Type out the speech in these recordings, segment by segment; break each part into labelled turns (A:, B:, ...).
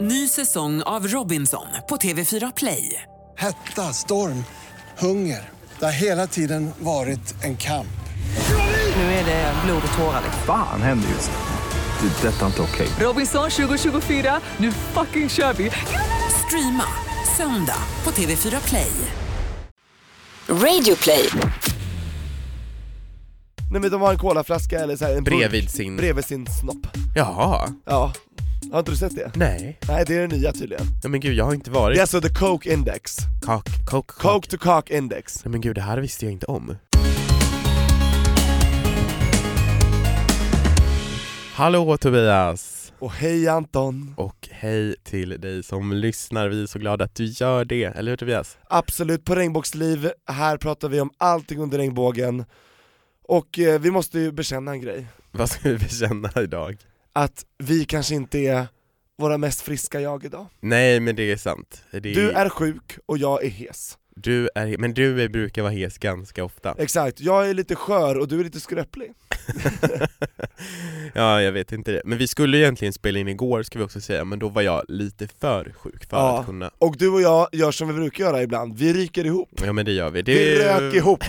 A: Ny säsong av Robinson på TV4 Play.
B: Hetta, storm, hunger. Det har hela tiden varit en kamp.
A: Nu är det blod och tårar. liksom.
C: Fan händer just nu. Det. är Detta är inte okej.
A: Robinson 2024, nu fucking kör vi! Streama söndag på TV4 Play.
D: Radio play.
E: Nej men de har en colaflaska eller så här, en burk
F: Bredvid sin-
E: Bredvid sin snopp.
F: Jaha,
E: Ja. Har inte du sett det?
F: nej.
E: Nej det är det nya tydligen.
F: Ja, men gud, jag har inte varit...
E: Det är alltså the coke index.
F: Kak, kok, kok.
E: Coke to cock index.
F: Nej, men gud, det här visste jag inte om. Hallå Tobias!
E: Och hej Anton.
F: Och hej till dig som lyssnar, vi är så glada att du gör det, eller hur Tobias?
E: Absolut på regnbågsliv, här pratar vi om allting under regnbågen. Och eh, vi måste ju bekänna en grej.
F: Vad ska vi bekänna idag?
E: Att vi kanske inte är våra mest friska jag idag.
F: Nej men det är sant. Det är,
E: Du är sjuk och jag är hes.
F: du är... Men du är, brukar vara hes ganska ofta.
E: Exakt, jag är lite skör och du är lite skröplig.
F: Ja, jag vet inte det. Men vi skulle egentligen spela in igår ska vi också säga, men då var jag lite för sjuk för
E: Ja.
F: att kunna
E: Och du och jag gör som vi brukar göra ibland, vi ryker ihop.
F: Ja men det gör vi. Det...
E: Vi rök ihop.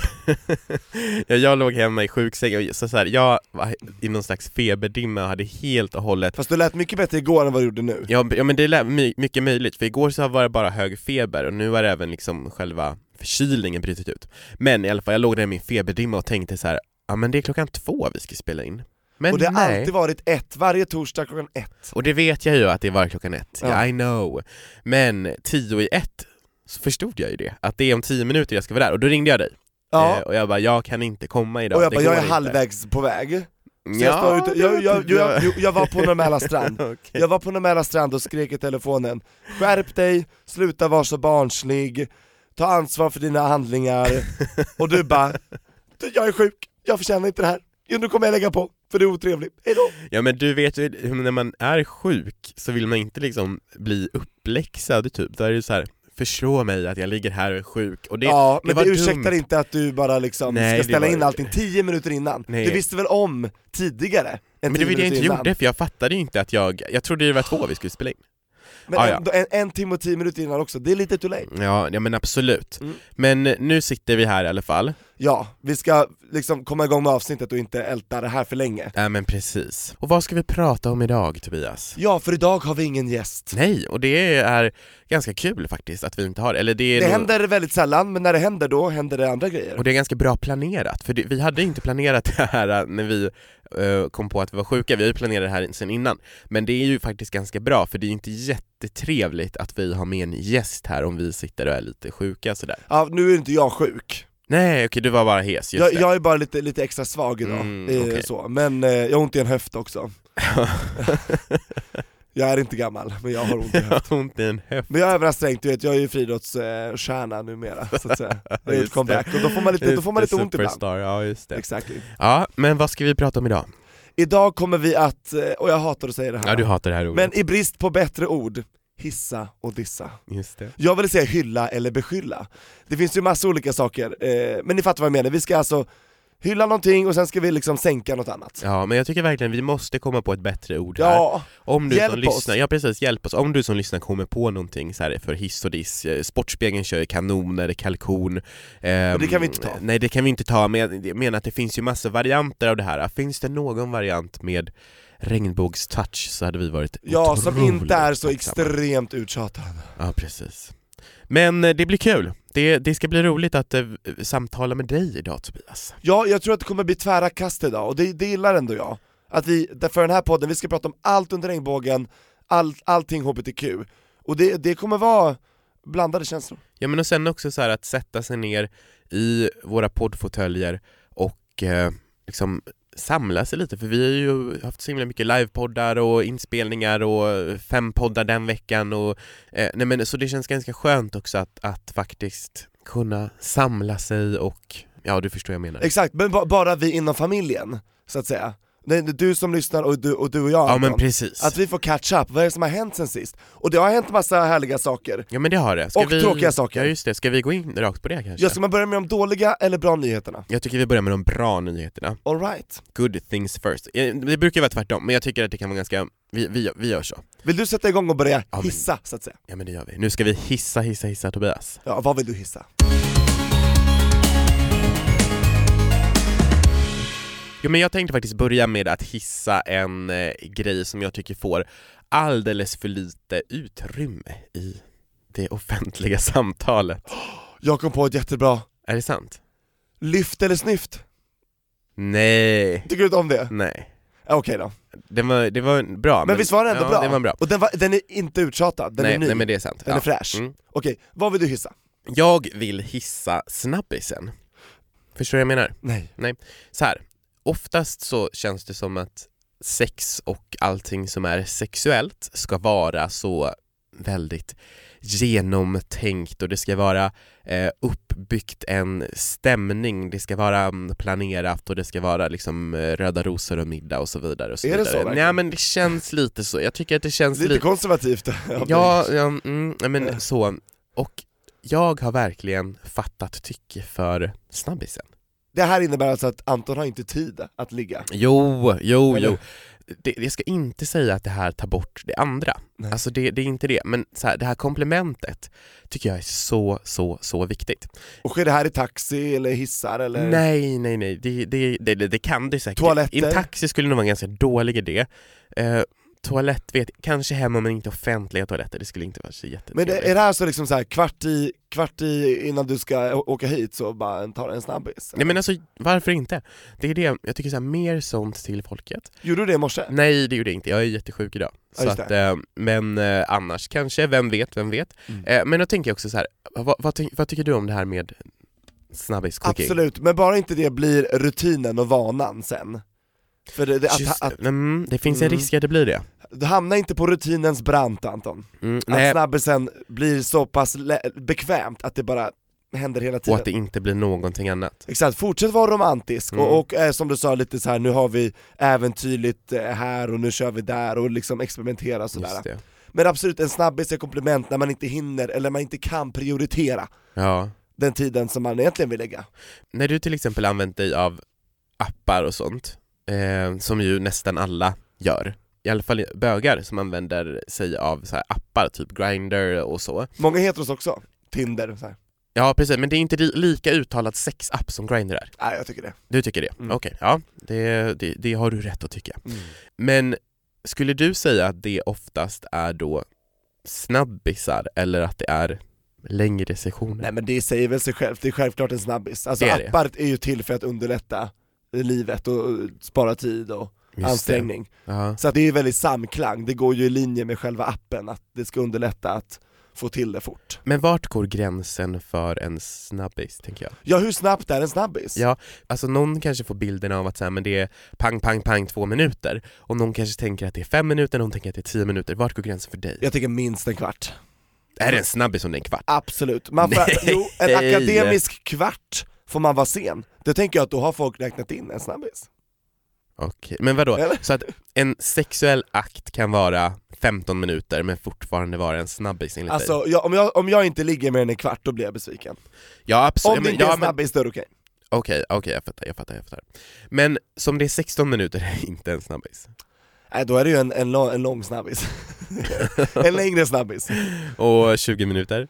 F: ja, jag låg hemma i sjuksängen, och så så här, jag var i någon slags feberdimma och hade helt och hållet
E: Fast du lät mycket bättre igår än vad du gjorde nu.
F: Ja, b- ja men det är lä- my- mycket möjligt, för igår så var det bara hög feber och nu har även liksom själva förkylningen brutit ut. Men i alla fall, jag låg där i min feberdimma och tänkte så här, ja men det är klockan två vi ska spela in. Men
E: och det har
F: nej.
E: alltid varit ett, varje torsdag klockan ett.
F: Och det vet jag ju att det var klockan ett,
E: Ja.
F: I know. Men tio i ett så förstod jag ju det, att det är om tio minuter jag ska vara där, och då ringde jag dig.
E: Ja.
F: Eh, och jag bara, jag kan inte komma idag,
E: och jag
F: det
E: bara, jag
F: går
E: är
F: inte."
E: halvvägs på väg.
F: Ja,
E: Så jag, står ute, jag, jag,
F: det typ- var-
E: jag, jag, jag var på Norrmäla strand.
F: Okej.
E: Jag var på Norrmäla strand och skrek i telefonen, skärp dig, sluta vara så barnslig, ta ansvar för dina handlingar. Och du bara, "Du, jag är sjuk, jag förtjänar inte det här. Jo, nu kommer jag lägga på, för du är otrevlig. Hejdå!
F: Ja men du vet ju, hur- när man är sjuk så vill man inte liksom bli uppläxad typ, då är det så här förstå mig att jag ligger här och är sjuk och det,
E: ja, men
F: var
E: det, ursäktar
F: dumt.
E: inte att du bara liksom
F: Nej,
E: ska
F: det
E: ställa
F: var-
E: in allting 10 minuter innan.
F: Nej.
E: Du visste väl om tidigare? än
F: Men det
E: 10
F: var det jag
E: minuter
F: inte
E: innan.
F: gjorde för jag fattade ju inte att jag, jag trodde det var två vi skulle spela in.
E: Men
F: Ah, ja.
E: ändå, en, en timme och 10 minuter innan också, det är lite too late.
F: Ja, ja men absolut.
E: Mm.
F: Men nu sitter vi här i alla fall.
E: Ja, vi ska liksom komma igång med avsnittet och inte älta det här för länge.
F: Ja men precis. Och vad ska vi prata om idag Tobias?
E: Ja, för idag har vi ingen gäst.
F: Nej, och det är ganska kul faktiskt att vi inte har det. Eller det är
E: Det
F: nog-
E: händer väldigt sällan, men när det händer då händer det andra grejer.
F: Och det är ganska bra planerat, för det, vi hade inte planerat det här äh, när vi eh, kom på att vi var sjuka, vi har ju planerat det här sen innan. Men det är ju faktiskt ganska bra, för det är ju inte jättetrevligt att vi har med en gäst här om vi sitter och är lite sjuka sådär.
E: Ja, nu är inte jag sjuk.
F: Nej okej, du var bara hes, just
E: Jag,
F: det.
E: jag är bara lite, lite extra svag idag,
F: Mm,
E: eh,
F: okej.
E: så. men eh, jag har ont i en höft också. jag är inte gammal, men jag har ont i
F: Jag
E: höften.
F: har ont i en höft.
E: Men jag övar strängt, du vet, jag är ju friidrottsstjärna numera så att säga. Jag har gjort
F: Just det.
E: comeback och då får man lite, då får man lite ont ibland.
F: Superstar, ja just det.
E: Exakt.
F: Ja, men vad ska vi prata om idag?
E: Idag kommer vi att, eh, och jag hatar att säga det här,
F: Ja du hatar det här ordet.
E: men i brist på bättre ord, hissa och dissa.
F: Just det.
E: Jag vill säga hylla eller beskylla. Det finns ju massa olika saker, eh, men ni fattar vad jag menar. Vi ska alltså hylla någonting och sen ska vi liksom sänka något annat.
F: Ja, men jag tycker verkligen vi måste komma på ett bättre ord här.
E: Ja,
F: Om du
E: Hjälp
F: som
E: oss.
F: lyssnar, ja precis, hjälp oss. Om du som lyssnar kommer på någonting så här för hiss och diss, eh, Sportspegeln kör ju kanoner, kalkon ehm,
E: Och det kan vi inte ta.
F: Nej det kan vi inte ta, men jag- jag menar att det finns ju massa varianter av det här. Finns det någon variant med regnbågstouch så hade vi varit
E: ja som
F: otroligt
E: inte är så
F: tacksamma.
E: extremt uttjatad.
F: Ja precis. Men eh, det blir kul. Det, det ska bli roligt att eh, samtala med dig idag Tobias.
E: Ja, jag tror att det kommer bli tvära kast idag och det, det gillar ändå jag. Att vi, för den här podden, vi ska prata om allt under regnbågen, all, allting HBTQ. Och det, det kommer vara blandade känslor.
F: Ja men och sen också så här att sätta sig ner i våra poddfåtöljer och eh, liksom samla sig lite för vi har ju haft så himla mycket livepoddar och inspelningar och fem poddar den veckan och eh, nej men så det känns ganska skönt också att, att faktiskt kunna samla sig och ja du förstår vad jag menar.
E: Exakt, men ba, bara vi inom familjen, så att säga. Nej, du som lyssnar och du och, du och jag
F: Ja
E: Anton.
F: men precis.
E: Att vi får catch up, vad är det som har hänt sen sist? Och det har hänt massa härliga saker.
F: Ja men det har det. Ska
E: Och
F: vi...
E: tråkiga saker.
F: Ja just det, ska vi gå in rakt på det kanske?
E: Ja, ska man börja med de dåliga eller bra nyheterna?
F: Jag tycker vi börjar med de bra nyheterna.
E: Alright.
F: Good things first. Eh, Det brukar ju vara tvärtom, men jag tycker att det kan vara ganska, vi, vi, vi gör så.
E: Vill du sätta igång och börja
F: men-
E: hissa, så att säga?
F: Ja men det gör vi. Nu ska vi hissa, hissa, hissa Tobias.
E: Ja, vad vill du hissa?
F: Jo men jag tänkte faktiskt börja med att hissa en eh, grej som jag tycker får alldeles för lite utrymme i det offentliga samtalet.
E: Jag kom på ett jättebra.
F: Är det sant?
E: Lyft eller snyft?
F: Nej,
E: Tycker du inte om det?
F: nej.
E: Ja, Okej då.
F: Det var, det var bra.
E: Men, visst var den ändå
F: ja,
E: bra?
F: Det var bra.
E: Och den, var, den är inte uttjatad, den
F: nej,
E: är ny.
F: nej men det är sant.
E: Den är fräsch.
F: Mm.
E: Okej, vad vill du hissa?
F: Jag vill hissa snabbisen. Förstår du vad jag menar?
E: Nej.
F: Så här. oftast så känns det som att sex och allting som är sexuellt ska vara så väldigt genomtänkt och det ska vara eh, uppbyggt en stämning, det ska vara mm, planerat och det ska vara liksom eh, röda rosor och middag och så vidare. Och så
E: Är det
F: vidare.
E: så verkligen?
F: Nej men det känns lite så, jag tycker att det känns
E: Lite
F: lite
E: konservativt.
F: Ja, ja mm, nej, men så. Och jag har verkligen fattat tycke för snabbisen.
E: Det här innebär alltså att Anton har inte tid att ligga.
F: Jo, jo,
E: Eller?
F: jo. Det, jag ska inte säga att det här tar bort det andra.
E: Nej.
F: Alltså det, det är inte det, men så här, det här komplementet tycker jag är så, så, så viktigt.
E: Och sker det här i taxi eller hissar eller?
F: Nej, nej, nej, det, det, det, det, det kan det säkert.
E: Toaletter?
F: I en taxi skulle nog vara en ganska dålig idé. Eh, toalett vet kanske hemma men inte offentliga toaletter, det skulle inte vara så
E: Men
F: jättetrevligt.
E: det, är det här så liksom så här, kvart i, kvart i innan du ska å- åka hit så bara en- tar en snabbis?
F: Nej men alltså varför inte? Det är det, jag tycker så här, mer sånt till folket.
E: Gjorde du det i morse?
F: Nej det gjorde jag inte, jag är jättesjuk idag.
E: Ja,
F: Så
E: just
F: att, eh, men eh, annars kanske, vem vet, vem vet.
E: Mm.
F: Eh, men då tänker jag också så här, vad, vad, ty- vad tycker du om det här med snabbis-cooking?
E: Absolut, men bara inte det blir rutinen och vanan sen. För det, det, att,
F: Just,
E: att,
F: mm, det finns
E: Mm.
F: en risk att det blir det.
E: du hamnar inte på rutinens brant Anton.
F: Mm,
E: Att
F: nej,
E: snabbisen blir så pass lä- bekvämt att det bara händer hela
F: och
E: tiden.
F: att det inte blir någonting annat.
E: Exakt, fortsätt vara romantisk
F: Mm.
E: och, och eh, som du sa lite så här nu har vi äventyrligt eh, här och nu kör vi där och liksom experimentera och sådär.
F: Just det.
E: Men absolut, en snabbis är komplement när man inte hinner eller man inte kan prioritera
F: Ja.
E: den tiden som man egentligen vill lägga.
F: När du till exempel använt dig av appar och sånt, eh, som ju nästan alla gör, i alla fall bögar som använder sig av så här appar, typ Grindr och så.
E: Många heter oss också, Tinder och så här.
F: Ja precis, men det är inte li- lika uttalat sexapp som Grindr är.
E: Nej jag tycker det.
F: Du tycker det?
E: Mm.
F: Okej, ja det, det, det har du rätt att tycka.
E: Mm.
F: Men skulle du säga att det oftast är då snabbisar eller att det är längre sessioner?
E: Nej men det säger väl sig självt, det är självklart en snabbis. Alltså
F: Det är det.
E: appar är ju till för att underlätta livet och och spara tid och
F: Just det.
E: ansträngning.
F: Ja.
E: Så att det är ju väldigt samklang, det går ju i linje med själva appen att det ska underlätta att få till det fort.
F: Men vart går gränsen för en snabbis, tänker jag?
E: Ja hur snabbt är en snabbis?
F: Ja, alltså någon kanske får bilden av att så här, men det är pang, pang, pang två minuter och någon kanske tänker att det är fem minuter, någon tänker att det är tio minuter. Vart går gränsen för dig?
E: Jag tycker minst en kvart.
F: Är det en snabbis om det är en kvart?
E: Absolut, man får,
F: Nej.
E: jo, en akademisk kvart får man vara sen. Då tänker jag att då har folk räknat in en snabbis.
F: Okej, men vadå?
E: Eller?
F: Så att en sexuell akt kan vara 15 minuter men fortfarande vara en snabbis enligt dig?
E: Alltså jag, om, jag, om jag inte ligger mer än en kvart då blir jag besviken.
F: Ja absolut,
E: Om det
F: men-
E: inte är
F: ja,
E: en
F: men-
E: snabbis då är det okej.
F: Okej, okej jag fattar, jag fattar, jag fattar. Men som det är 16 minuter är det inte en snabbis.
E: Nej då är det ju en, en, lång, en lång snabbis. en längre snabbis.
F: Och 20 minuter?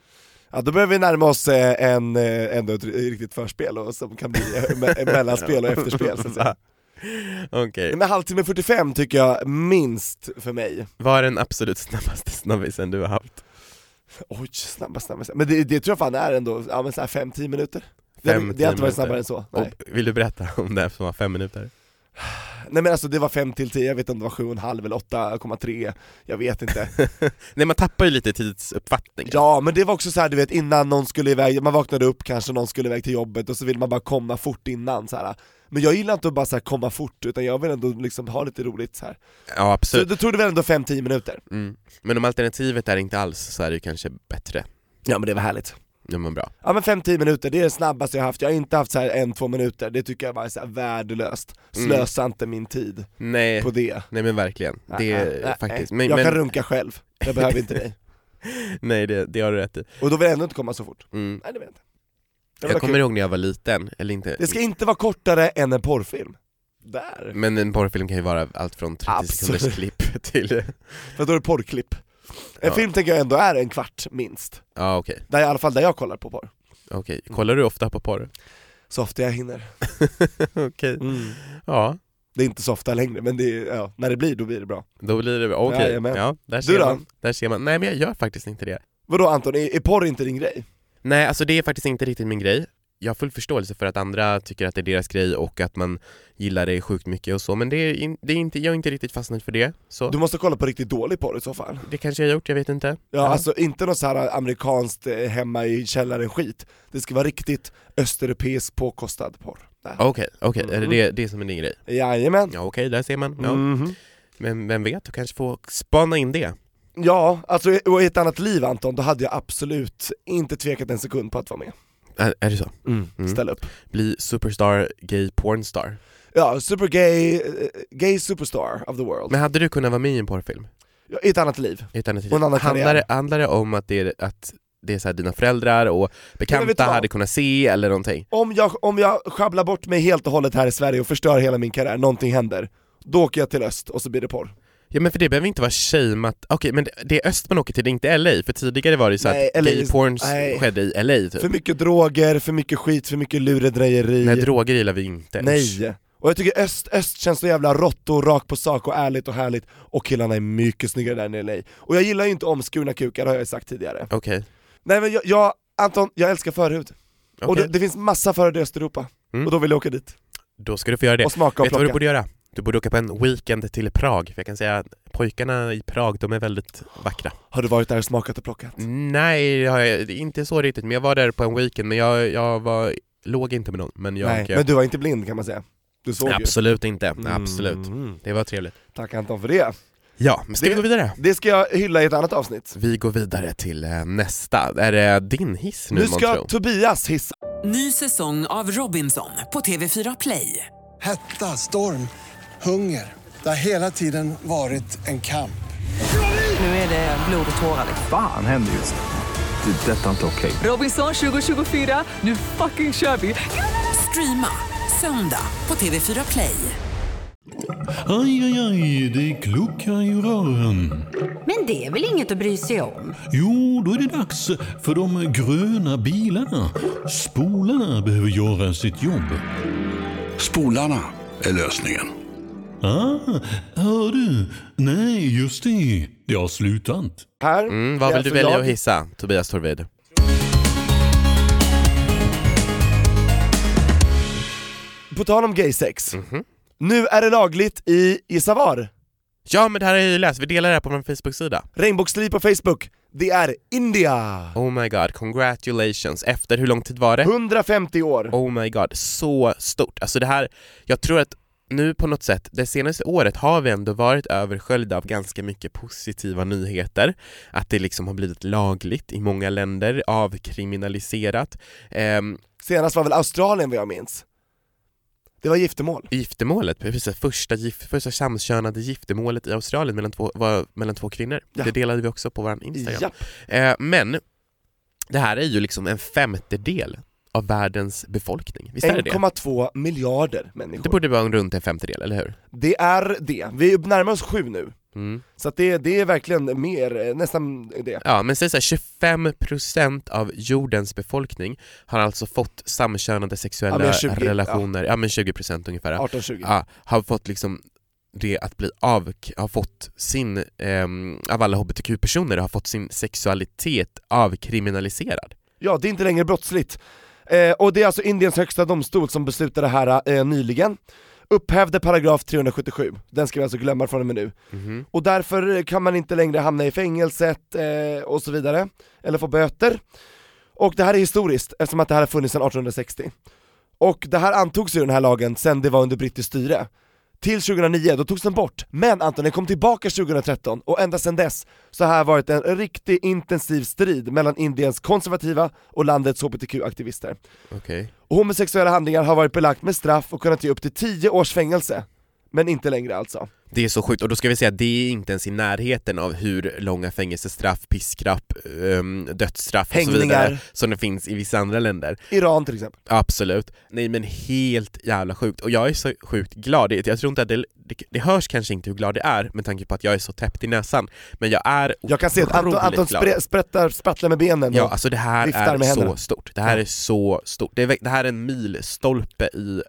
E: Ja då börjar vi närma oss eh, en, eh, ändå ett riktigt förspel och, som kan bli eh, me- mellanspel och efterspel så att säga.
F: Va? Okej,
E: Nej, Men halvtimme 45 tycker jag minst för mig.
F: vad är den absolut snabbaste snabbisen du har haft?
E: Oj, snabba, snabba, snabba. Men det, det tror jag fan är ändå, ja men såhär 5-10 minuter. Det,
F: Fem,
E: har- det
F: tio
E: har inte varit
F: minuter.
E: snabbare än så. Nej.
F: Och vill du berätta om det här som var 5 minuter?
E: Nej men alltså det var 5 till 10, jag vet inte om det var 7,5 eller 8,3, jag vet inte.
F: Nej man tappar ju lite tidsuppfattningen.
E: Ja men det var också så här, du vet innan någon skulle iväg, man vaknade upp kanske någon skulle iväg till jobbet och så vill man bara komma fort innan så här. Men jag gillar inte att bara så här komma fort utan jag vill ändå liksom ha lite roligt så här.
F: Ja,
E: Så
F: absolut.
E: då tog det väl ändå 5-10 minuter?
F: Mm. Men om alternativet är inte alls så är det ju kanske bättre.
E: Ja men det var härligt.
F: Ja men bra.
E: Ja men 5-10 minuter, det är det snabbaste jag haft, jag har inte haft så här en, två minuter, det tycker jag bara är så här värdelöst.
F: Mm.
E: Slösa inte min tid
F: Nej,
E: på det.
F: nej men verkligen. Det
E: Nej,
F: är
E: nej,
F: faktiskt,
E: nej.
F: men,
E: jag kan
F: men
E: runka själv, jag behöver inte dig.
F: nej det, det har du rätt i.
E: Och då vill jag ändå inte komma så fort.
F: Mm.
E: Nej det vet jag inte. Det, var
F: Jag kommer
E: kul.
F: ihåg när jag var liten, eller inte,
E: det ska inte vara kortare än en porrfilm. Mm. Där.
F: men en porrfilm kan ju vara allt från 30
E: Absolut.
F: sekunders klipp till,
E: För då är det porrklipp. En
F: Ja.
E: film tänker jag ändå är en kvart, minst.
F: ja okej,
E: Där, I alla fall där jag kollar på porr.
F: okej. Kollar du ofta på porr?
E: Så ofta jag hinner.
F: okej, Mm. ja.
E: Det är inte så ofta längre, men det är, ja, när det blir då blir det bra.
F: Då blir det, okej,
E: Jajamän.
F: ja, där
E: Du
F: ser,
E: då?
F: man, där ser man. Nej men jag gör faktiskt inte det.
E: Vadå Anton, är, är porr inte din grej?
F: Nej, alltså det är faktiskt inte riktigt min grej. Jag har full förståelse för att andra tycker att det är deras grej och att man gillar det sjukt mycket och så, men det är, in, det är inte, jag är inte riktigt fastnat för det. Så
E: Du måste kolla på riktigt dålig porr i så fall.
F: det kanske jag har gjort, jag vet inte.
E: Ja, alltså inte något så här amerikanskt eh, hemma i källaren skit. Det ska vara riktigt östeuropeisk påkostad porr. Där.
F: Okej, okej,
E: Mm.
F: är det det, det som är din grej?
E: Jajamän.
F: Ja okej, där ser man. Ja.
E: Mhm.
F: Men vem vet, du kanske får spana in det.
E: Ja, alltså i- och i ett annat liv Anton, då hade jag absolut inte tvekat en sekund på att vara med.
F: Är, är det så? Mm.
E: Ställ upp.
F: Bli superstar, gay pornstar.
E: Ja, supergay, eh, gay superstar of the world.
F: Men hade du kunnat vara med i en porrfilm?
E: Ja, I ett annat liv.
F: I ett annat liv?
E: Och en annan
F: handlar,
E: karriär.
F: det, handlar det om att det är, att det är så här dina föräldrar och
E: men vet du
F: bekanta
E: vad?
F: hade kunnat se eller någonting?
E: Om jag, om jag sjabblar bort mig helt och hållet här i Sverige och förstör hela min karriär, någonting händer. Då åker jag till öst och så blir det porr.
F: Ja men för det behöver inte vara shameat, okej men det- det är öst man åker till, det är inte LA, för tidigare var det ju så
E: Nej,
F: att
E: LA
F: gay porns
E: nej.
F: skedde i LA typ.
E: För mycket droger, för mycket skit, för mycket lurendrejeri.
F: Nej droger gillar vi inte. Usch.
E: Nej! Och jag tycker öst, öst känns så jävla rått och rakt på sak och ärligt och härligt och killarna är mycket snyggare där nere i LA. Och jag gillar ju inte omskurna kukar har jag ju sagt tidigare.
F: Okej.
E: Nej men jag, jag Anton, jag älskar förhud. Och
F: Okej.
E: det, det finns massa förhud i Östeuropa,
F: Mm.
E: och då vill jag åka dit.
F: Då ska du få göra det.
E: Och smaka och
F: Vet du vad du
E: plocka.
F: borde göra? Du borde åka på en weekend till Prag, för jag kan säga att pojkarna i Prag, de är väldigt vackra.
E: Har du varit där och smakat och plockat?
F: Nej, det har jag- det är inte så riktigt, men jag var där på en weekend, men jag, jag var, låg inte med någon. Men jag...
E: Nej, men du var inte blind kan man säga. Du såg
F: absolut inte,
E: ju.
F: absolut.
E: Mm.
F: Det var trevligt.
E: Tack Anton för det.
F: Ja, men ska
E: Det-
F: vi gå vidare?
E: Det ska jag hylla i ett annat avsnitt.
F: Vi går vidare till eh, nästa. Är det din hiss nu,
E: Nu ska
F: Montreux?
E: Tobias hissa.
A: Ny säsong av Robinson på TV4 Play.
B: Hetta, storm, hunger. Det har hela tiden varit en kamp.
A: Nu är det blod och tårar. liksom.
C: Fan händer just det. Det är detta inte okej.
A: Robinson 2024, nu fucking kör vi! Streama söndag på TV4 Play.
G: Aj, aj, aj, det kluckar i rören.
H: Men det är väl inget att bry sig om?
G: Jo, då är det dags för de gröna bilarna. Spolarna behöver göra sitt jobb.
I: Spolarna är lösningen.
G: Ah, hör du? Nej, just det. Det har slutat.
E: Här.
F: Mm, vad
E: Det är
F: vill du
E: alltså
F: välja
E: jag.
F: att hissa, Tobias Torvid?
E: På tal om gaysex.
F: Mhm.
E: Nu är det lagligt i Gissa var.
F: Ja, men det här har jag ju läst. Vi delar det här på vår Facebook-sida.
E: Regnbågsliv på Facebook. Det är India!
F: Oh my god, congratulations. Efter hur lång tid var det?
E: 150 år.
F: Oh my god, så stort. Alltså det här, jag tror att nu på något sätt, det senaste året har vi ändå varit översköljda av ganska mycket positiva nyheter. Att det liksom har blivit lagligt i många länder, avkriminaliserat. Ehm,
E: Senast var väl Australien vad jag minns. Det var giftermål.
F: giftermålet, precis, första, gift, första samkönade giftermålet i Australien mellan två, var mellan två kvinnor.
E: Ja.
F: Det delade vi också på vår Instagram.
E: Japp.
F: Eh, men det här är ju liksom en femtedel av världens befolkning, visst är det det?
E: 1,2 miljarder
F: Det
E: människor.
F: borde vara runt en femtedel, eller hur?
E: Det är det. Vi närmar oss sju nu.
F: Mm.
E: Så att det, det är verkligen mer, eh, nästan det.
F: Ja, men säg såhär, 25% av jordens befolkning har alltså fått samkönade
E: Ja,
F: sexuella
E: men 20,
F: relationer, ja. men 20% ungefär, ja.
E: 18-20.
F: Ja, har fått liksom det att bli av, har fått sin, ehm, av alla hbtq-personer, har fått sin sexualitet avkriminaliserad.
E: Ja, det är inte längre brottsligt. Eh, och det är alltså Indiens högsta domstol som beslutade det här eh, nyligen. Upphävde paragraf 377, den ska vi alltså glömma från och med nu.
F: Mhm.
E: Och därför kan man inte längre hamna i fängelset eh, och så vidare, eller få böter. Och det här är historiskt eftersom att det här har funnits sedan 1860. Och det här antogs ju den här lagen sen det var under brittiskt styre. till 2009, då togs den bort. Men Anton, den kom tillbaka 2013 och ända sedan dess så har det varit en riktig intensiv strid mellan Indiens konservativa och landets hbtq-aktivister.
F: Okej.
E: Och homosexuella handlingar har varit belagt med straff och kunnat ge upp till 10 års fängelse. Men inte längre alltså.
F: Det är så sjukt, och då ska vi säga att det är inte ens i närheten av hur långa fängelsestraff, piskrapp, ehm, dödsstraff och så vidare
E: Hängningar.
F: som det finns i vissa andra länder.
E: Iran till exempel.
F: Absolut. Nej men helt jävla sjukt, och jag är så sjukt glad. Det- Jag tror inte att det, det, det hörs kanske inte hur glad det är med tanke på att jag är så täppt i näsan, men jag är
E: Jag kan se att Anton,
F: otroligt
E: Anton
F: glad.
E: spre, sprättar, sprattlar med benen.
F: Ja,
E: och-
F: alltså det här
E: viftar
F: är
E: med händerna.
F: så stort. Det här är så stort. Det, är, det här är en milstolpe i,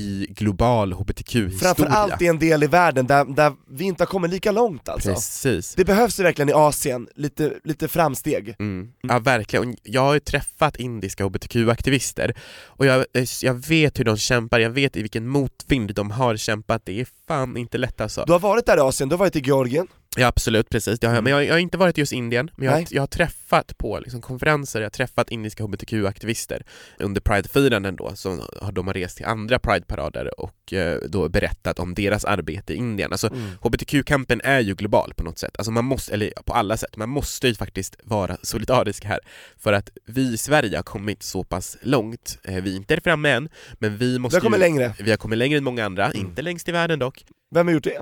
F: i global hbtq-historia.
E: Framförallt i en del i världen där, där vi inte har kommit lika långt alltså.
F: Precis.
E: Det behövs ju verkligen i Asien, lite, lite framsteg.
F: Mm. Ja verkligen, Och jag har ju träffat indiska hbtq-aktivister och jag, jag vet hur de kämpar, jag vet i vilken motvind de har kämpat, det är fan inte lätt alltså.
E: Du har varit där i Asien, du har varit i Georgien,
F: Ja absolut, precis. Det har jag, men jag, jag har inte varit i just Indien, men jag, har-
E: Mm. Nej.
F: jag har träffat på liksom, konferenser, jag har träffat indiska hbtq-aktivister under Pride-firanden då, som har, de har rest till andra Pride-parader och eh, då berättat om deras arbete i Indien. Alltså
E: Mm.
F: hbtq-kampen är ju global på något sätt, alltså man måste, eller på alla sätt, man måste ju faktiskt vara solidarisk här. För att vi i Sverige har kommit så pass långt, eh, vi är inte framme än, men vi måste
E: du har kommit Mm.
F: ju,
E: längre.
F: Vi har kommit längre än många andra, inte längst i världen dock,
E: Vem har gjort det?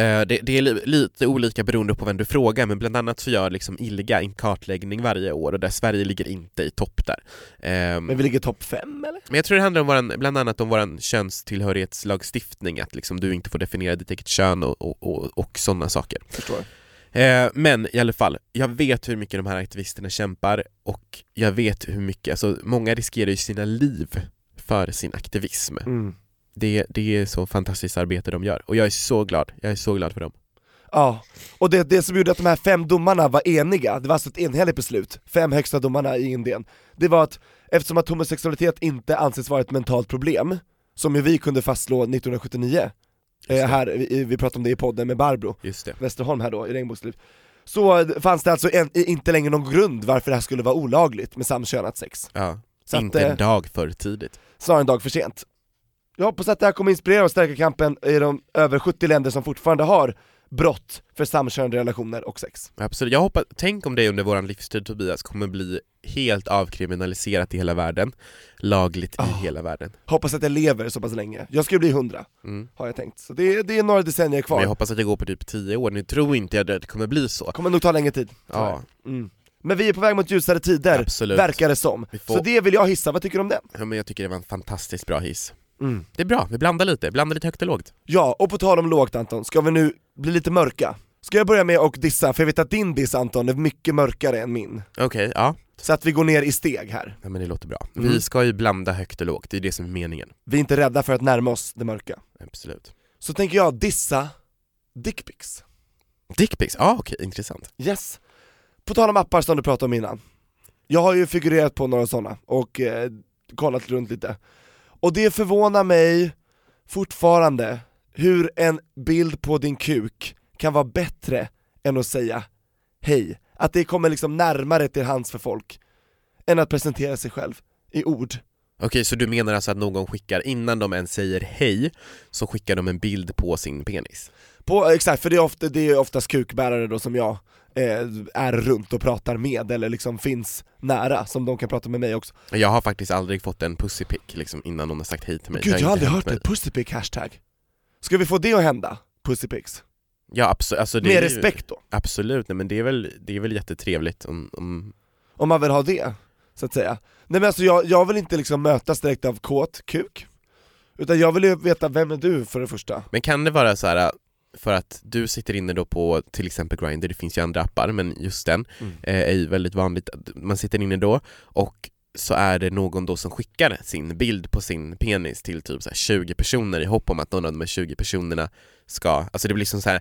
F: Eh, Det, det är li- lite olika beroende på vem du frågar, men bland annat så gör liksom ILGA en kartläggning varje år och där Sverige ligger inte i topp där. Ehm,
E: Men vi ligger topp fem eller?
F: Men jag tror det handlar om våran, bland annat om vår könstillhörighetslagstiftning, att liksom du inte får definiera ditt eget kön och, och, och, och sådana saker.
E: Förstår.
F: Eh, men i alla fall, jag vet hur mycket de här aktivisterna kämpar och jag vet hur mycket, alltså många riskerar ju sina liv för sin aktivism.
E: Mm.
F: Det, det är så fantastiskt arbete de gör och jag är så glad, jag är så glad för dem.
E: Ja, och det, det som gjorde att de här fem domarna var eniga, det var alltså ett enhälligt beslut, fem högsta domarna i Indien, det var att eftersom att homosexualitet inte anses vara ett mentalt problem, som ju vi kunde fastslå 1979, eh, här, vi, vi pratade om det i podden med Barbro
F: Just det.
E: Westerholm här då, i Regnbågsliv, så fanns det alltså en, inte längre någon grund varför det här skulle vara olagligt med samkönat sex.
F: Ja.
E: Så att,
F: inte
E: eh,
F: en dag för tidigt.
E: snarare en dag för sent. Jag hoppas att det här kommer inspirera och stärka kampen i de över 70 länder som fortfarande har brott för samkönade relationer och sex.
F: Absolut. Jag hoppas, tänk om det under vår livstid Tobias kommer bli helt avkriminaliserat i hela världen, lagligt
E: Ah,
F: i hela världen.
E: Hoppas att jag lever så pass länge. Jag ska ju bli 100, har jag tänkt. Så det, är- det är några decennier
F: Mm. Men
E: kvar.
F: jag hoppas att det går på typ 10 år, nu tror inte jag att det kommer bli så.
E: kommer nog ta längre tid.
F: Ja,
E: Mm. Men vi är på väg mot ljusare tider,
F: Absolut.
E: verkar det som.
F: Vi får-
E: Så det vill jag hissa, vad tycker du om det?
F: ja, men jag tycker det var en fantastiskt bra hiss. Det är bra, vi blandar lite, blandar lite högt och lågt.
E: Ja, och på tal om lågt Anton, ska vi nu bli lite mörka? Ska jag börja med att dissa, för jag vet att din diss Anton är mycket mörkare än min.
F: Okej, ja.
E: Så att vi går ner i steg här.
F: ja. men det låter bra.
E: Mm.
F: Vi ska ju blanda högt och lågt, det är det som är meningen.
E: Vi är inte rädda för att närma oss det mörka.
F: Absolut.
E: Så tänker jag dissa dickpics.
F: Dickpics, ja ah, okej, intressant.
E: Yes. På tal om appar som du pratade om innan. Jag har ju figurerat på några sådana och eh, kollat runt lite. Och det förvånar mig fortfarande hur en bild på din kuk kan vara bättre än att säga hej. Att det kommer liksom närmare till hands för folk än att presentera sig själv i ord.
F: Okej, så du menar alltså att någon skickar, innan de ens säger hej, så skickar de en bild på sin penis?
E: På, exakt, för det är, ofta, det är oftast kukbärare då som jag eh, är runt och pratar med eller liksom finns nära som de kan prata med mig också.
F: Jag har faktiskt aldrig fått en pussypick liksom innan någon har sagt hej till mig.
E: Gud jag har
F: inte
E: aldrig
F: hänt
E: hört
F: mig.
E: det, pussypick hashtag. Ska vi få det att hända? Pussypicks.
F: Ja absolut, alltså det
E: Med
F: är
E: respekt då,
F: Ju, absolut, nej men det är väl, det är väl jättetrevligt om, om
E: om man vill ha det, så att säga. Nej men alltså jag, jag vill inte liksom mötas direkt av kåt kuk, utan jag vill ju veta vem är du för det första.
F: Men kan det vara så här äh, för att du sitter inne då på till exempel Grindr, det finns ju andra appar men just den eh, är ju väldigt vanligt, att man sitter inne då och så är det någon då som skickar sin bild på sin penis till typ så här 20 personer i hopp om att någon av de här 20 personerna ska, alltså det blir som så här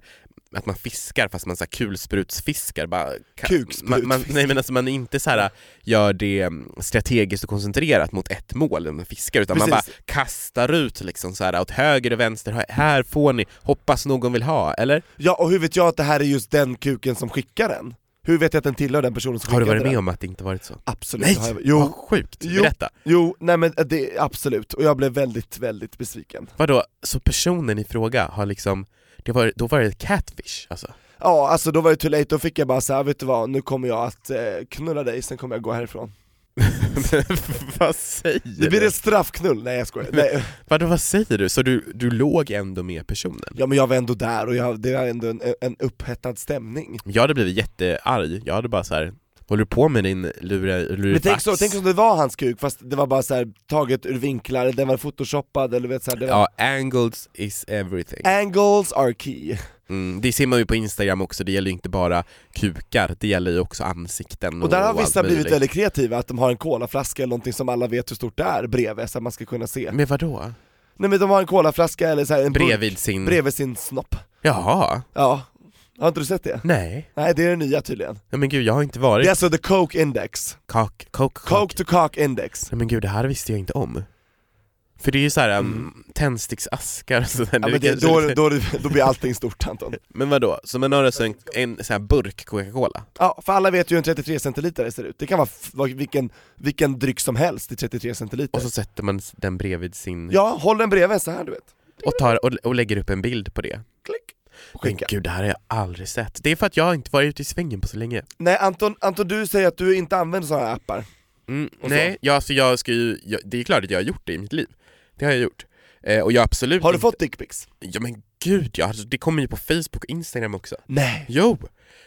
F: att man fiskar fast man så här kulsprutsfiskar bara kan, man, man,
E: Kuksprutsfiskar.
F: Nej men alltså man inte så här gör det mm, strategiskt och koncentrerat mot ett mål när man fiskar utan man
E: Precis.
F: bara kastar ut liksom så här åt höger och vänster, här- här får ni, hoppas någon vill ha, eller?
E: Ja och hur vet jag att det här är just den kuken som skickar den? Hur vet jag att den tillhör den personen som
F: Har du
E: skickade
F: varit
E: den?
F: med om att det inte varit så?
E: Absolut,
F: Nej!
E: det har jag-
F: Vad
E: jo,
F: sjukt!
E: Jo.
F: Berätta!
E: jo, nej men eh, det, absolut, och jag blev väldigt, väldigt besviken
F: Vadå, så personen i fråga har liksom, det var, då var det catfish alltså?
E: Ja, alltså då var det too late, då fick jag bara såhär, vet du vad, nu kommer jag att eh, knulla dig, sen kommer jag gå härifrån
F: vad säger
E: Det blir
F: du?
E: en straffknull, nej jag skojar, nej.
F: Vadå, vad säger du? Så du, du låg ändå med personen?
E: Ja men jag var ändå där och jag, det var ändå en, en upphettad stämning
F: Jag hade blivit jättearg, jag hade bara så här. håller du på med din lura,
E: Men
F: lurifax?
E: tänk så, tänk om det var hans kuk fast det var bara så här, taget ur vinklar, den var photoshoppad eller vet såhär, det var...
F: Ja, angles is everything.
E: Angles are key
F: Mm, det ser man ju på Instagram också, det gäller ju inte bara kukar, det gäller ju också ansikten och,
E: Och där har
F: allt
E: vissa blivit
F: möjligt.
E: väldigt kreativa, att de har en colaflaska eller någonting som alla vet hur stort det är bredvid, så att man ska kunna se
F: Men vadå?
E: Nej men de har en colaflaska eller så här, en burk
F: Mm. Bredvid sin...
E: bredvid sin snopp
F: Jaha,
E: Ja, har inte du sett det?
F: nej.
E: Nej det är det nya tydligen
F: Ja, men gud, jag har inte varit...
E: Det är alltså the coke index,
F: Kak, kak, kak.
E: coke to coke index
F: Nej, men gud, det här visste jag inte om. För det är ju såhär, mm. tändsticksaskar och sådär.
E: Ja,
F: är
E: men det,
F: kanske
E: då,
F: lite-
E: då, då blir allting stort Anton
F: men vadå, så man har alltså en, en sån här burk Coca-Cola?
E: Ja, för alla vet ju hur en 33 centiliter ser ut, det kan vara f- vad- vilken, vilken dryck som helst i 33 centiliter
F: Och så sätter man den bredvid sin...
E: Ja, håll den bredvid så här du vet,
F: Och, tar, och, och lägger upp en bild på det.
E: klick
F: Men
E: Skicka.
F: gud, det här har jag aldrig sett. Det är för att jag har inte varit ute i svängen på så länge.
E: Nej Anton, Anton du säger att du inte använder sådana här appar
F: Mm,
E: Och
F: nej, ja, alltså jag ska ju, jag, det är klart att jag har gjort det i mitt liv. Det har jag gjort. Eh, och jag har absolut
E: Har du
F: inte,
E: fått dickpics?
F: Ja men gud ja, alltså, det kommer ju på Facebook och Instagram också.
E: Nej!
F: Jo!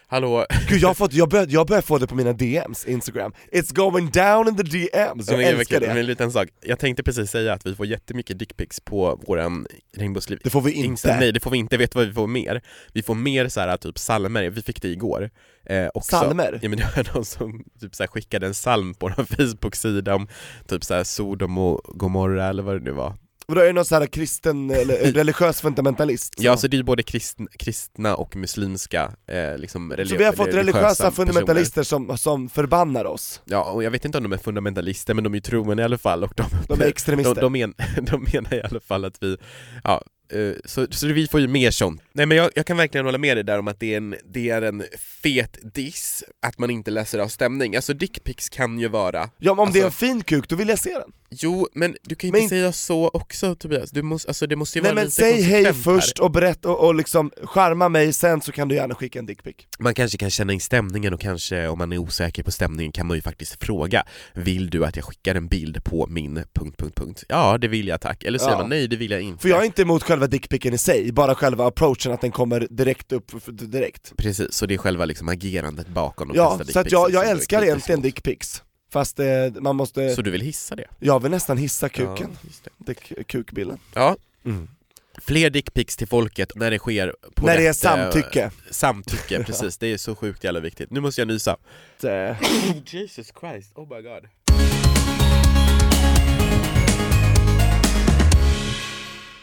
F: Hallå!
E: Gud jag har fått, jag börjar jag börjar få det på mina DMs, Instagram It's going down in the DMs, jag
F: men, gud, vad
E: älskar
F: kul. men
E: det
F: en liten sak. Jag tänkte precis säga att vi får jättemycket dickpics på våran regnbågsliv.
E: Det får vi
F: Insta-
E: inte,
F: Nej det får vi inte, vet du vad vi får mer? Vi får mer så här typ salmer. vi fick det igår eh, också.
E: Psalmer?
F: Ja men det var någon som typ så här, skickade en salm på någon Facebook-sida om typ så här Sodom och Gomorra eller vad det nu var.
E: Vadå är det någon sån här kristen eller religiös fundamentalist?
F: Ja, så det är ju både kristn, kristna och muslimska eh, liksom
E: Så vi har fått religiösa
F: personer.
E: fundamentalister som, som förbannar oss,
F: Ja, och jag vet inte om de är fundamentalister, men de är ju trogna i alla fall och de,
E: de är extremister
F: de, de, men, de menar i alla fall att vi, ja, eh, så, så vi får ju mer sånt. Nej men jag, jag kan verkligen hålla med dig där om att det är en, det är en fet diss, att man inte läser av stämning. Alltså dickpics kan ju vara,
E: Ja men om det är en
F: Alltså-
E: fin kuk, då vill jag se den!
F: jo men du kan ju
E: Men
F: inte säga så också Tobias, du måste, alltså, det måste ju
E: Nej
F: vara
E: men
F: lite
E: säg hej
F: konsekvent här.
E: först och berätta och, och liksom charma mig sen så kan du gärna skicka en dickpic
F: Man kanske kan känna in stämningen och kanske om man är osäker på stämningen kan man ju faktiskt fråga Vill du att jag skickar en bild på min... punkt, punkt, punkt? Ja, det vill jag tack. Eller säger
E: Ja.
F: man nej, det vill jag inte.
E: För jag är inte emot själva dickpicken i sig, bara själva approachen att den kommer direkt upp f- direkt
F: Precis, så det är själva liksom agerandet bakom de
E: Ja,
F: flesta
E: så att
F: dickpicsen
E: jag, jag
F: som du är
E: älskar
F: kritisk
E: egentligen
F: mot.
E: dickpics Fast eh, man måste,
F: Så du vill hissa det?
E: jag vill nästan hissa kuken,
F: Ja, just det.
E: dick, kukbilden
F: ja.
E: Mm.
F: Fler dickpics till folket när det sker på
E: När det är
F: rätt, eh,
E: samtycke
F: Samtycke, precis. Det är så sjukt jävla viktigt. Nu måste jag nysa.
E: Eh,
F: Jesus Christ, oh my god.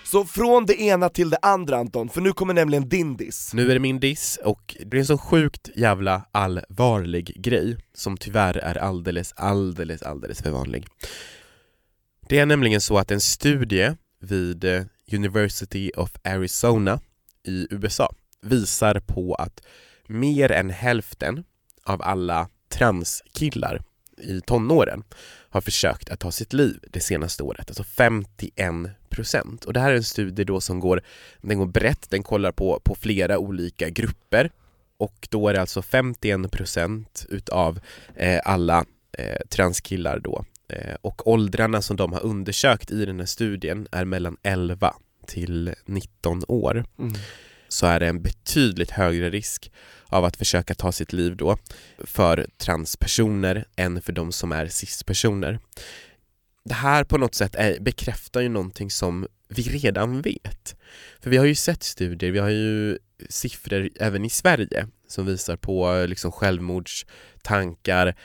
E: Så från det ena till det andra Anton, för nu kommer nämligen din diss
F: Nu är det min diss och det är en så sjukt jävla allvarlig grej som tyvärr är alldeles, alldeles, alldeles för vanlig. Det är nämligen så att en studie vid eh, University of Arizona i USA visar på att mer än hälften av alla transkillar i tonåren har försökt att ta sitt liv det senaste året, alltså 51 procent. Och det här är en studie då som går den går brett, den kollar på, på flera olika grupper och då är det alltså 51% utav eh, alla eh, transkillar då eh, och åldrarna som de har undersökt i den här studien är mellan 11 till 19 år så är det en betydligt högre risk av att försöka ta sitt liv då för transpersoner än för de som är cispersoner. Det här på något sätt är, bekräftar ju någonting som vi redan vet. För vi har ju sett studier, vi har ju siffror även i Sverige som visar på eh, liksom självmordstankar,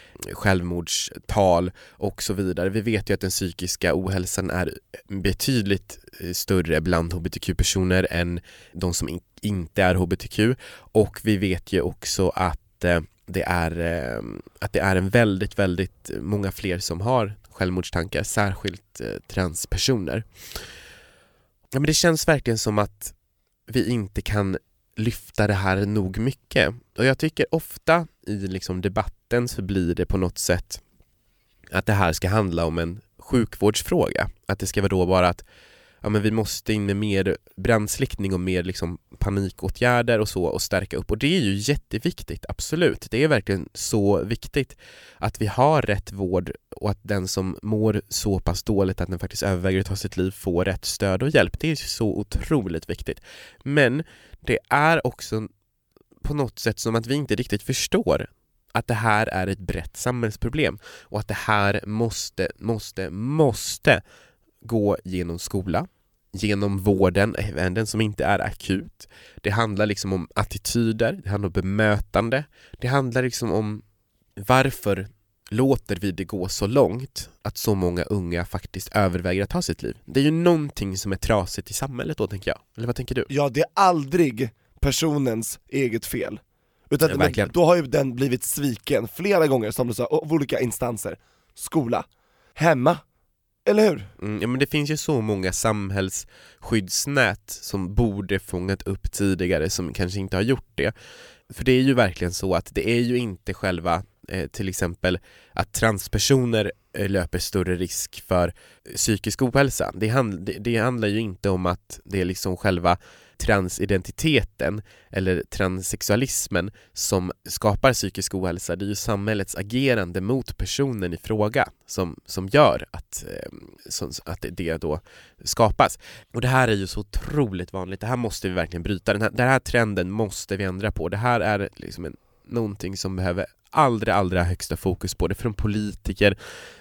F: självmordstal och så vidare. Vi vet ju att den psykiska ohälsan är betydligt eh, större bland hbtq-personer än de som in- inte är hbtq och vi vet ju också att eh, det är, eh, att det är en väldigt, väldigt många fler som har självmordstankar, särskilt eh, transpersoner. Ja, men det känns verkligen som att vi inte kan lyfta det här nog mycket. Och jag tycker ofta i liksom debatten så blir det på något sätt att det här ska handla om en sjukvårdsfråga. Att det ska vara då bara att ja, men vi måste in med mer brandsläckning och mer liksom panikåtgärder och så och stärka upp. Och det är ju jätteviktigt, absolut. Det är verkligen så viktigt att vi har rätt vård och att den som mår så pass dåligt att den faktiskt överväger att ta sitt liv får rätt stöd och hjälp. Det är ju så otroligt viktigt. Men det är också på något sätt som att vi inte riktigt förstår att det här är ett brett samhällsproblem och att det här måste, måste, måste gå genom skola, genom vården, även den som inte är akut. Det handlar liksom om attityder, det handlar om bemötande, det handlar liksom om varför låter vi det gå så långt att så många unga faktiskt överväger att ta sitt liv? Det är ju någonting som är trasigt i samhället då tänker jag, eller vad tänker du?
E: Ja, det är aldrig personens eget fel. Utan
F: Ja,
E: men
F: verkligen.
E: då har ju den blivit sviken flera gånger som du sa, av olika instanser. Skola, hemma, eller hur?
F: Mm, ja, men det finns ju så många samhällsskyddsnät som borde fångat upp tidigare som kanske inte har gjort det. För det är ju verkligen så att det är ju inte själva eh, till exempel att transpersoner eh, löper större risk för eh, psykisk ohälsa. Det, hand, det, det handlar ju inte om att det är liksom själva transidentiteten eller transsexualismen som skapar psykisk ohälsa. Det är ju samhällets agerande mot personen i fråga som, som gör att, eh, som, att det- det då skapas. Och det här är ju så otroligt vanligt, det här måste vi verkligen bryta, den här, den här trenden måste vi ändra på. Det här är liksom en, någonting som behöver allra, allra högsta fokus på det från politiker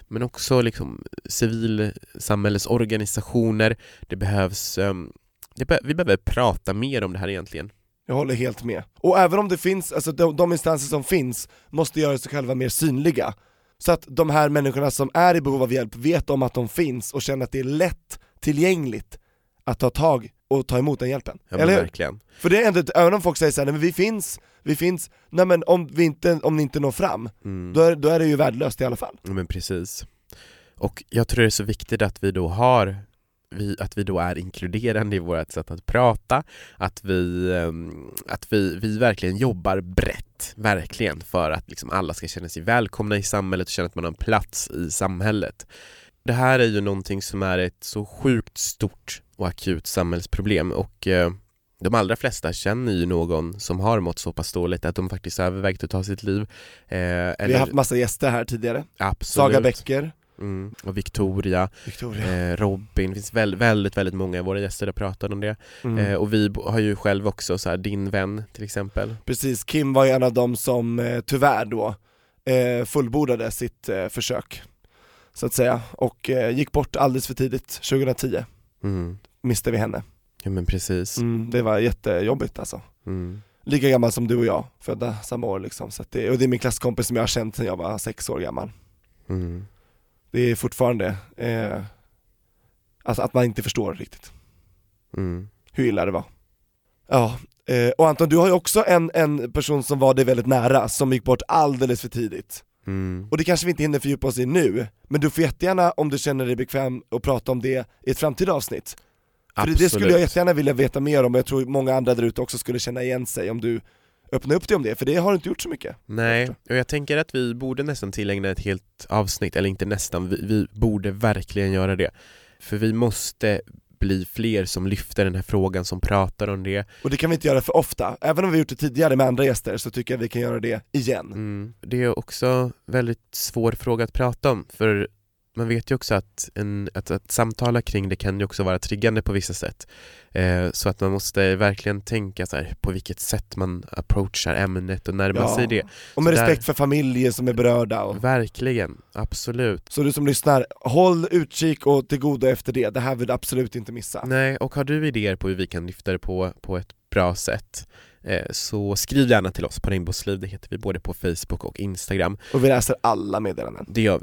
F: men också liksom civilsamhällesorganisationer. Det behövs, ehm, det be- vi behöver prata mer om det här egentligen.
E: Jag håller helt med. Och även om det finns, alltså de, de instanser som finns måste göra sig själva mer synliga. Så att de här människorna som är i behov av hjälp vet om att de finns och känner att det är lätt tillgängligt att ta tag och ta emot den hjälpen.
F: Ja, men
E: eller hur?
F: verkligen.
E: För det är ändå, även om folk säger såhär, nej men vi finns, vi finns, nej men om, vi inte, om ni inte når fram,
F: Mm.
E: då, är, då är det ju värdelöst i alla fall.
F: Ja, men precis. Och jag tror det är så viktigt att vi då har vi, att vi då är inkluderande i vårt sätt att prata, att vi, ehm, att vi, vi verkligen jobbar brett, verkligen, för att liksom alla ska känna sig välkomna i samhället och känna att man har en plats i samhället. Det här är ju någonting som är ett så sjukt stort och akut samhällsproblem och eh, de allra flesta känner ju någon som har mått så pass dåligt att de faktiskt övervägt att ta sitt liv. Eh, eller,
E: Vi har haft massa gäster här tidigare,
F: absolut.
E: Saga Bäcker,
F: Mm, och Victoria,
E: Victoria.
F: eh, Robin, det finns väl, väldigt, väldigt många av våra gäster har pratat om det.
E: Mm.
F: Eh, och vi bo- har ju själv också så här, din vän till exempel.
E: Precis, Kim var ju en av dem som eh, tyvärr då eh, fullbordade sitt eh, försök, så att säga, och eh, gick bort alldeles för tidigt, 2010
F: Mm.
E: miste vi henne.
F: Ja men precis.
E: Mm, det var jättejobbigt alltså.
F: Mm.
E: Lika gammal som du och jag, födda samma år liksom, så att det, och det är min klasskompis som jag har känt sedan jag var sex år gammal.
F: Mm.
E: Det är fortfarande, eh, alltså att man inte förstår riktigt
F: Mm.
E: hur illa det var. Ja, eh, och Anton du har ju också en, en person som var dig väldigt nära, som gick bort alldeles för tidigt.
F: Mm.
E: Och det kanske vi inte hinner fördjupa oss i nu, men du får jättegärna om du känner dig bekväm att prata om det i ett framtida avsnitt. För det, det skulle jag jättegärna vilja veta mer om och jag tror många andra där ute också skulle känna igen sig om du öppnar upp dig om det, för det har du inte gjort så mycket.
F: Nej, och jag tänker att vi borde nästan tillägna ett helt avsnitt, eller inte nästan, vi, vi borde verkligen göra det. För vi måste bli fler som lyfter den här frågan, som pratar om det.
E: Och det kan vi inte göra för ofta, även om vi har gjort det tidigare med andra gäster så tycker jag vi kan göra det igen.
F: Mm. Det är också väldigt svår fråga att prata om för man vet ju också att, en, att, att samtala kring det kan ju också vara triggande på vissa sätt. Eh, så att man måste verkligen tänka så här, på vilket sätt man approachar ämnet och närmar
E: Ja.
F: sig det.
E: Och med
F: Så där-
E: respekt för familjer som är berörda och
F: Verkligen, absolut.
E: så du som lyssnar, håll utkik och till godo efter det, det här vill du absolut inte missa.
F: Nej, och har du idéer på hur vi kan lyfta det på, på ett bra sätt eh, så skriv gärna till oss på Regnbågsliv, det heter vi både på Facebook och Instagram.
E: Och vi läser alla meddelanden.
F: Det gör vi.